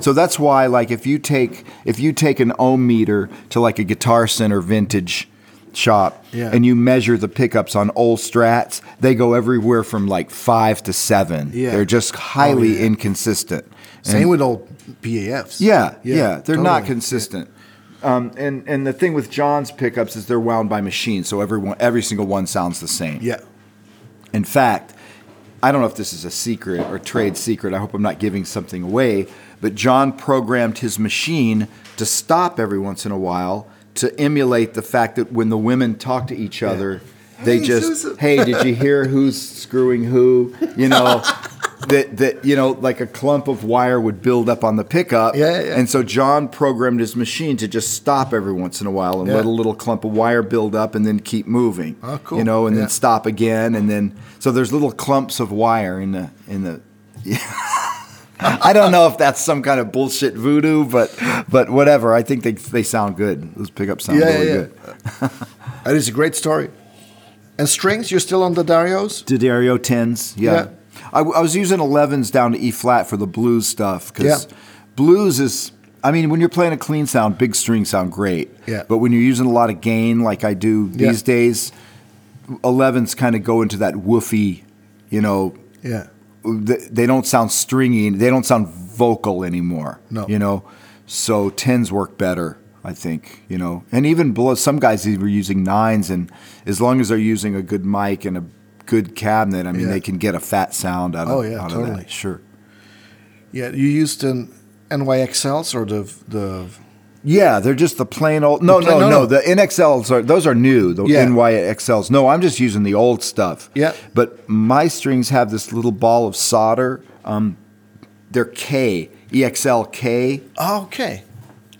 So that's why like if you take if you take an ohm meter to like a guitar center vintage shop
Yeah.
and you measure the pickups on old strats, they go everywhere from like five to seven.
Yeah. Oh,
They're just highly
yeah.
inconsistent.
same with old PAFs.
Yeah, yeah, they're not
totally.
consistent. Um, and and the thing with John's pickups is they're wound by machine, so everyone every single one sounds the same.
Yeah,
In fact, I don't know if this is a secret or trade secret. I hope I'm not giving something away, but John programmed his machine to stop every once in a while to emulate the fact that when the women talk to each other, they
Hey,
just
Susan.
hey, did you hear who's screwing who? You know, that that you know, like a clump of wire would build up on the pickup.
Yeah, yeah, yeah.
And so John programmed his machine to just stop every once in a while and
Yeah.
let a little clump of wire build up and then keep moving.
Oh, cool.
You know, and
Yeah.
then stop again, and then so there's little clumps of wire in the in the. I don't know if that's some kind of bullshit voodoo, but but whatever. I think they they sound good. Those pickups sound
Yeah,
really
yeah, yeah.
good.
that is a great story. And strings, you're still on the Darios.
D'Addario tens, yeah.
Yeah.
I, I was using 11s down to E flat for the blues stuff because
Yeah.
blues is. I mean, when you're playing a clean sound, big strings sound great.
Yeah.
But when you're using a lot of gain, like I do these days, 11s kind of go into that woofy, you know,
Yeah.
th- they don't sound stringy. They don't sound vocal anymore.
No.
you know, so tens work better, I think. You know, and even below some guys even were using nines, and as long as they're using a good mic and a good cabinet, I mean,
Yeah.
they can get a fat sound out of.
Oh, yeah,
out Of
totally.
that. Sure.
Yeah. You used an NYXLs or the the
Yeah, they're just the plain old. No,
The plain-
no,
no,
no,
no.
The NXLs are those are new. The
Yeah.
NYXLs. No, I'm just using the old stuff.
Yeah.
But my strings have this little ball of solder. Um, they're K EXL K.
oh, okay.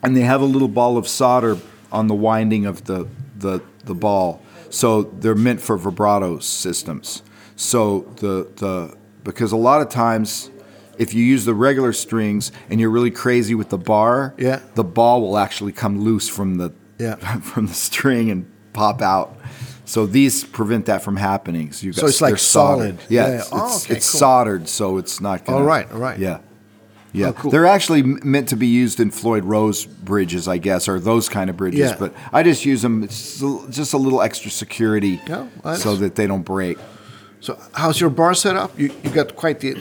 and they have a little ball of solder on the winding of the the, the ball. So they're meant for vibrato systems. So the the because a lot of times if you use the regular strings and you're really crazy with the bar,
Yeah.
the ball will actually come loose from the
Yeah.
from the string and pop out. So these prevent that from happening. So, you've got,
So it's like
they're soldered.
solid.
Yeah,
Yeah,
it's,
yeah. Oh,
it's,
okay,
it's
cool.
soldered, so it's not gonna.
All right, all right.
Yeah. Yeah,
Oh, cool.
they're actually m- meant to be used in Floyd Rose bridges, I guess, or those kind of bridges.
Yeah.
But I just use them it's l- just a little extra security,
Yeah, I-
so that they don't break.
So how's your bar setup? You you got quite the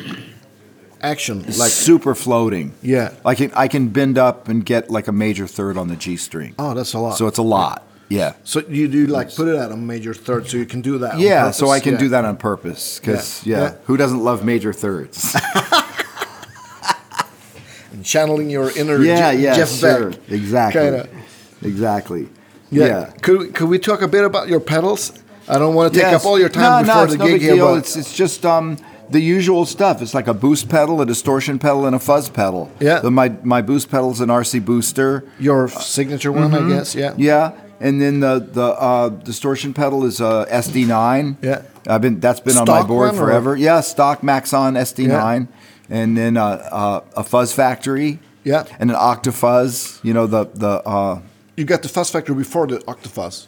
action.
Like super floating.
Yeah.
I can I can bend up and get like a major third on the G string.
Oh, that's a lot.
so it's a lot. Yeah.
So you do like put it at a major third, so you can do that. on
Yeah, so
purpose.
I can
Yeah.
do that on purpose because
Yeah.
yeah.
Yeah.
who doesn't love major thirds?
And channeling your inner
yeah,
Je-
yeah,
Jeff
sure,
Beck.
exactly,
Kinda.
exactly.
Yeah.
yeah.
Could could we talk a bit about your pedals? I don't want to take
Yes.
up all your time
no,
before
no,
the
it's no
gig
big
here,
deal.
but
It's, it's just um, the usual stuff. It's like a boost pedal, a distortion pedal, and a fuzz pedal.
Yeah.
The- my my boost pedal's an RC booster.
your signature one, I guess. Yeah.
Mm-hmm. Yeah. And then the the uh, distortion pedal is a SD9.
Yeah.
I've been that's been on my
Stock
board
one, or-
forever. Yeah, stock Maxon SD9, and then uh, uh, a Fuzz Factory.
Yeah.
And an Octafuzz. You know the the uh,
You got the Fuzz Factory before the Octafuzz.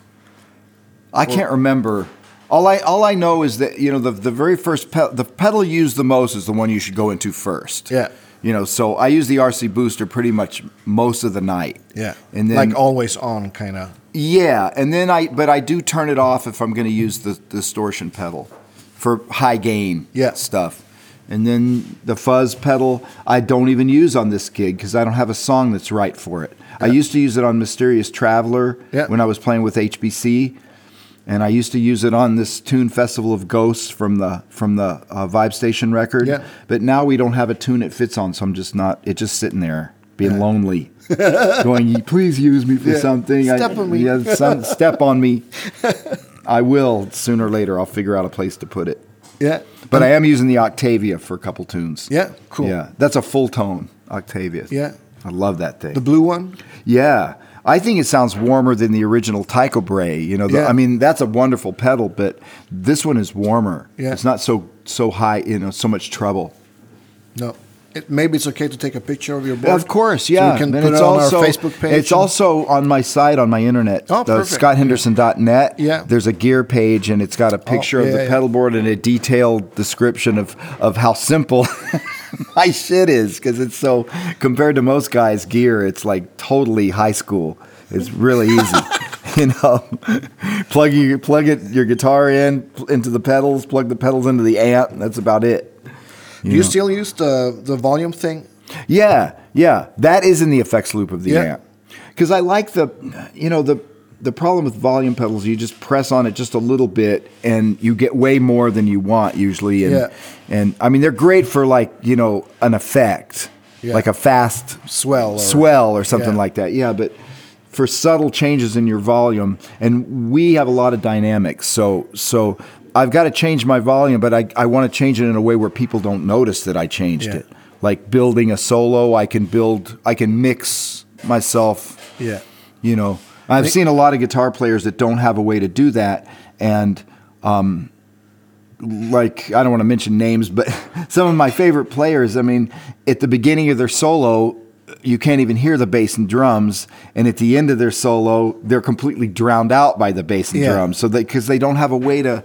I can't remember. All I all I know is that you know the the very first pe- the pedal used the most is the one you should go into first.
Yeah.
You know, so I use the RC booster pretty much most of the night.
Yeah.
And then
like always on, kind of.
yeah, and then I but I do turn it off if I'm going to use the distortion pedal for high gain
Yeah.
stuff. And then the fuzz pedal I don't even use on this gig because I don't have a song that's right for it. I used to use it on Mysterious Traveler
Yeah.
when I was playing with HBC, and I used to use it on this Tune Festival of Ghosts from the from the uh, Vibe Station record.
Yeah.
But now we don't have a tune it fits on, so I'm just not. It's just sitting there being lonely, going, "Please use me for
Yeah.
something."
Step on me.
Yeah, some, step on me. I will sooner or later. I'll figure out a place to put it.
Yeah.
But I am using the Octavia for a couple tunes.
Yeah. Cool.
Yeah, that's a full tone Octavia.
Yeah.
I love that thing.
The blue one.
Yeah, I think it sounds warmer than the original Tycho Brahe. You know, the,
Yeah.
I mean, that's a wonderful pedal, but this one is warmer.
Yeah.
It's not so so high. You know, so much trouble.
No. It, maybe it's okay to take a picture of your board.
Of course,
So
yeah.
you can
And
put
it's
it on
also-
our Facebook page.
It's
and-
also on my site on my internet,
Oh,
the
perfect.
scotthenderson.net.
Yeah. Oh,
There's a gear page and it's got a picture
yeah,
of the
yeah.
pedal board and a detailed description of, of how simple my shit is because it's so, compared to most guys' gear, it's like totally high school. It's really easy. You know, plug your plug it your guitar in pl- into the pedals, plug the pedals into the amp. and That's about it.
Do you still use the the volume thing?
Yeah, yeah. That is in the effects loop of the
Yeah.
amp. Because I like the, you know, the the problem with volume pedals, you just press on it just a little bit and you get way more than you want usually. And,
Yeah.
and I mean, they're great for like, you know, an effect,
Yeah.
like a fast
Swell or-
swell or something
Yeah.
like that. Yeah, but for subtle changes in your volume, and we have a lot of dynamics. So, so I've got to change my volume, but I, I want to change it in a way where people don't notice that I changed
Yeah.
it like building a solo i can build i can mix myself
Yeah.
you know i've seen a lot of guitar players that don't have a way to do that and um, like i don't want to mention names but some of my favorite players i mean at the beginning of their solo you can't even hear the bass and drums and at the end of their solo they're completely drowned out by the bass and
Yeah.
drums so they because they don't have a way to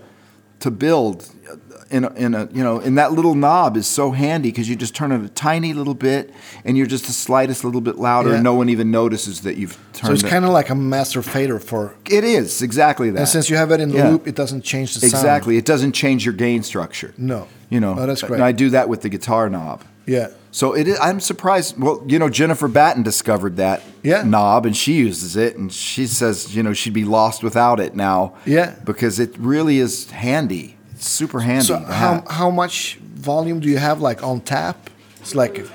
to build uh, in a, in a you know and that little knob is so handy because you just turn it a tiny little bit and you're just the slightest little bit louder
Yeah.
and no one even notices that you've turned
So it's
it.
kind of like a master fader for.
it is exactly that
And since you have it in the
Yeah.
loop, it doesn't change the sound.
exactly it doesn't change your gain structure
No.
you know
No, that's great.
and i do that with the guitar knob
Yeah.
so it is, I'm surprised. Well, you know, Jennifer Batten discovered that
Yeah.
knob and she uses it and she says, you know, she'd be lost without it now.
Yeah.
Because it really is handy. It's super handy.
So
to
how,
have.
how much volume do you have like on tap? It's like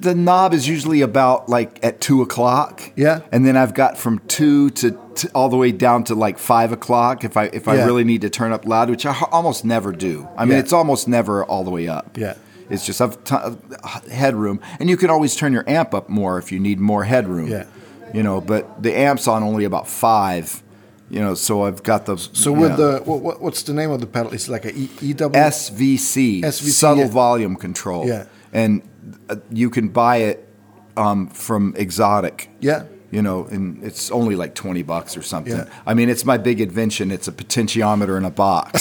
the knob is usually about like at two o'clock.
Yeah.
And then I've got from two to, t all the way down to like five o'clock if I if I
Yeah.
really need to turn up loud, which I h- almost never do. I mean,
Yeah.
it's almost never all the way up.
Yeah.
It's just I've t- headroom, and you can always turn your amp up more if you need more headroom.
Yeah.
You know, but the amp's on only about five. You know, so I've got the
so
you
with
know,
the what, what, what's the name of the pedal? It's like a E- EW.
SVC,
SVC,
subtle
yeah.
volume control.
Yeah.
And uh, you can buy it um, from Exotic.
Yeah.
You know, and it's only like 20 bucks or something.
Yeah.
I mean, it's my big invention. It's a potentiometer in a box.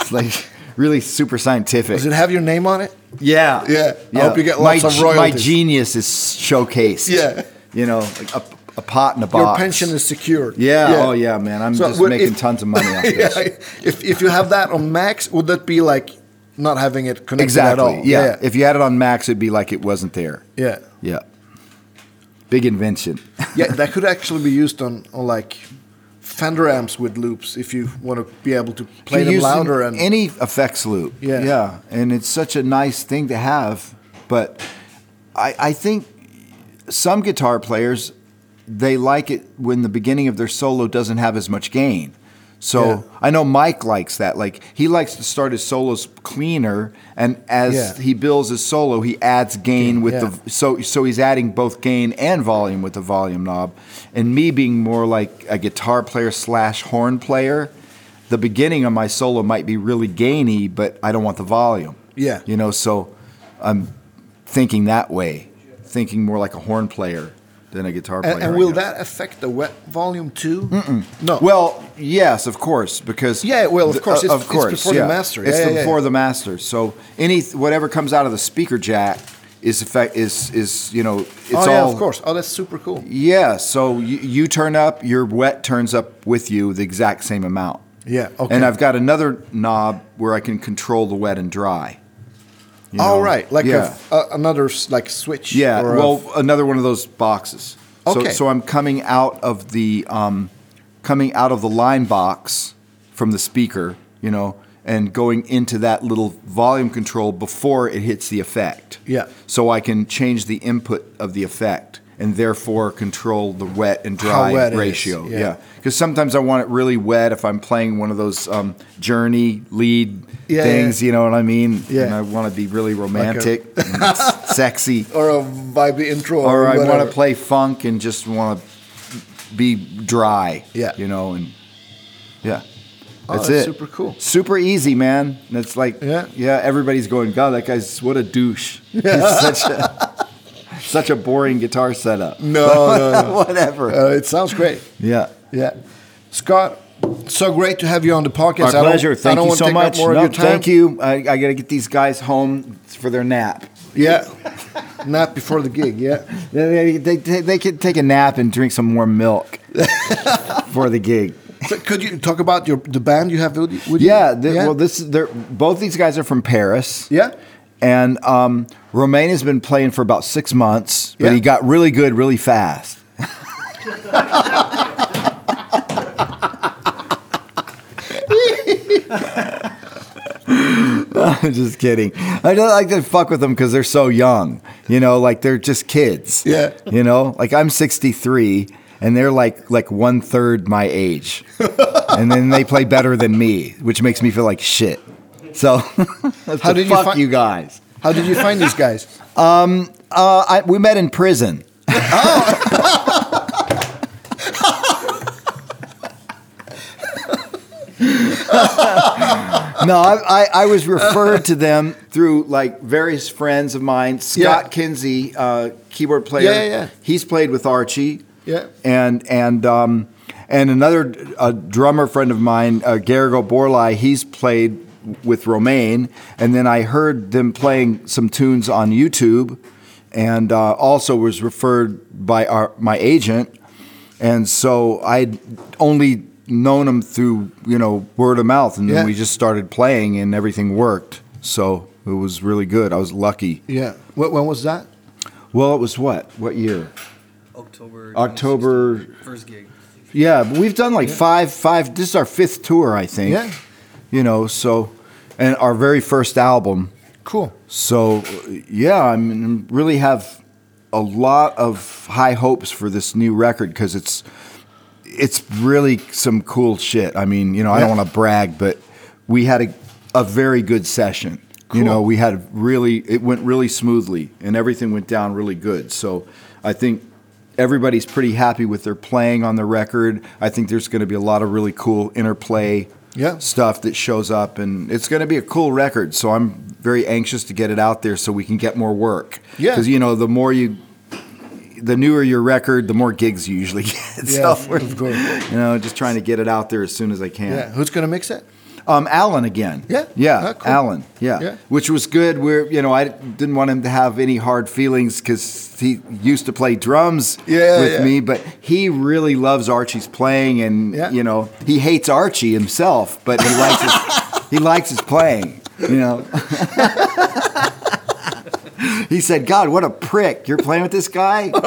it's like really super scientific.
Does it have your name on it?
Yeah.
Yeah. I hope you get lots
my,
of
ge- My
royalties.
genius is showcased.
Yeah.
You know, like a, a pot in a
Your
box.
pension is secured.
Yeah. Oh, yeah, man. I'm
So
just
would-
making
if-
tons of money off this.
yeah. If if you have that on max, would that be like not having it connected at
Exactly.
all?
Yeah. If you had it on max, it'd be like it wasn't there.
yeah.
Yeah. Big invention.
yeah, that could actually be used on, on like Fender amps with loops if you want to be able to play
You
them
use
louder and
any effects loop.
Yeah.
Yeah. And it's such a nice thing to have. But I, I think some guitar players they like it when the beginning of their solo doesn't have as much gain. So
Yeah.
I know Mike likes that. Like he likes to start his solos cleaner, and as
Yeah.
he builds his solo, he adds gain with
yeah.
the so so he's adding both gain and volume with the volume knob. And me being more like a guitar player slash horn player, the beginning of my solo might be really gainy, but I don't want the volume.
Oh, Yeah.
you know. So thinking that way, thinking more like a horn player than a guitar player.
and, and
I
will
guess.
that affect the wet volume too? No.
Well, yes, of course, because
Yeah, well, of
the-
course,
uh,
it's-
of
it's
course,
before the
yeah.
master.
It's
Yeah,
the-
yeah, yeah.
before the master. So any whatever comes out of the speaker jack is effect is is you know it's
oh
all
yeah, of course. Oh, that's super cool.
Yeah, so you, you turn up, your wet turns up with you the exact same amount.
Yeah, okay.
And I've got another knob where I can control the wet and dry. You
All right,
know?
like
yeah.
a, a, another s- like switch.
Yeah,
or a-
well, another one of those boxes.
Okay.
So, so I'm coming out of the um, coming out of the line box from the speaker, you know, and going into that little volume control before it hits the effect.
Yeah.
So I can change the input of the effect and therefore control the wet and
How
dry
wet it is,
ratio.
yeah.
Because sometimes I want it really wet if I'm playing one of those um, journey lead
Yeah,
things, you know what I mean?
Yeah.
And I want to be really romantic, and s- sexy
or a vibey intro,
or I want
whatever.
to play funk and just want to be dry.
Yeah.
you know, and yeah,
Oh,
that's,
that's
it.
super cool.
Super easy, man. And it's like,
Yeah.
yeah, Everybody's going, God, that guy's what a douche. He's such a such a boring guitar setup.
No, no, no.
whatever.
Uh, it sounds great.
yeah.
Yeah, Scott, so great to have you on the podcast.
My
I don't-
pleasure.
I
Thank
don't
you
want
so
to take up
much.
More
No,
of your time.
Thank you. I, I got to get these guys home for their nap.
Yeah, not before the gig. Yeah,
They, they, they, they could take a nap and drink some warm milk for the gig.
so could you talk about your the band you have? Would you, would you-
Yeah, th- well, this they're both these guys are from Paris.
Yeah.
and um, Romain has been playing for about six months, but
Yeah.
he got really good really fast. I'm just kidding. I don't like to fuck with them because they're so young. You know, like they're just kids.
Yeah.
You know, like I'm 63 and they're like like one third my age, and then they play better than me, which makes me feel like shit. So, how
did
did
you
you fuck
fi-
you guys?
How did you find these guys?
Uh, I, we met in prison.
Oh.
no, I, I, I was referred to them through like various friends of mine. Scott
Yeah.
Kinsey, uh, keyboard player.
Yeah, yeah, yeah.
He's played with Archie.
Yeah.
And and um, and another uh drummer friend of mine, uh, Garrigo Borlai. He's played with Romaine, and then I heard them playing some tunes on YouTube, and uh, also was referred by our my agent, and so I'd only known them through you know word of mouth, and then
Yeah.
we just started playing, and everything worked. So it was really good. I was lucky.
Yeah. When, when was that?
Well, it was what what year?
October.
October-
2016, First gig.
Yeah, but we've done like five, five. This is our fifth tour, I think.
Yeah.
You know, so, and our very first album.
Cool.
So, yeah, I mean, really have a lot of high hopes for this new record because it's it's really some cool shit. I mean, you know, I don't
Yeah.
want to brag, but we had a a very good session. You know,
Cool.
we had really it went really smoothly and everything went down really good. So, I think everybody's pretty happy with their playing on the record. I think there's going to be a lot of really cool interplay
Yeah.
stuff that shows up and it's going to be a cool record so i'm very anxious to get it out there so we can get more work
Yeah.
because you know the more you the newer your record the more gigs you usually get
Yeah,
so we're,
of course.
you know just trying to get it out there as soon as i can
Yeah. Who's gonna mix it?
um, Alan again.
Yeah.
yeah,
Ah, cool.
Alan. Yeah.
Yeah.
which was good. Where you know I didn't want him to have any hard feelings because he used to play drums
Yeah,
with
yeah.
me, but he really loves Archie's playing, and
Yeah.
you know he hates Archie himself, but he likes his, he likes his playing. You know. He said, "God, what a prick! You're playing with this guy."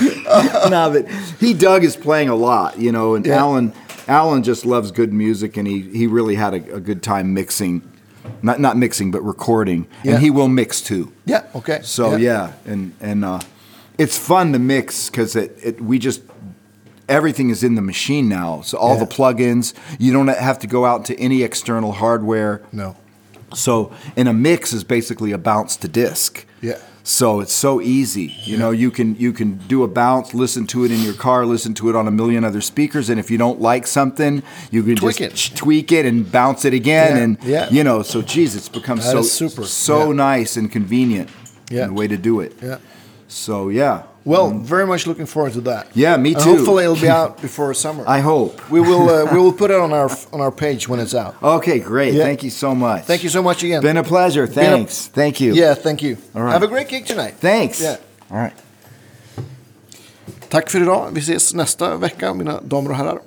no, but he dug his playing a lot, you know. And
Yeah.
Alan, Alan just loves good music, and he he really had a, a good time mixing, not not mixing, but recording.
Yeah.
And he will mix too.
Yeah. Okay.
So yeah, and and uh, it's fun to mix because it, it we just everything is in the machine now. So all
Yeah.
the plugins, you don't have to go out to any external hardware.
No.
So, and a mix is basically a bounce to disc.
Yeah.
So it's so easy. You know, you can you can do a bounce, listen to it in your car, listen to it on a million other speakers, and if you don't like something, you can
Tweak
just
it.
ch- tweak it and bounce it again,
Yeah,
and
yeah.
you know. So, geez, it's become
That
so
is super,
so
yeah.
nice and convenient.
Yeah.
and the way to do it.
Yeah.
So yeah,
Well, very much looking forward to that.
Mm. Yeah, me
And
too.
hopefully, it'll be out before summer.
I hope.
we will. Uh, we will put it on our on our page when it's out.
Okay, great.
Yeah.
Thank you so much.
Thank you so much again.
Been a pleasure.
a-
Thanks. Thank you.
Yeah, thank you.
All right.
Have a great gig tonight.
Thanks.
Yeah.
All right.
Tack för idag. Vi ses nästa vecka, mina damer och herrar.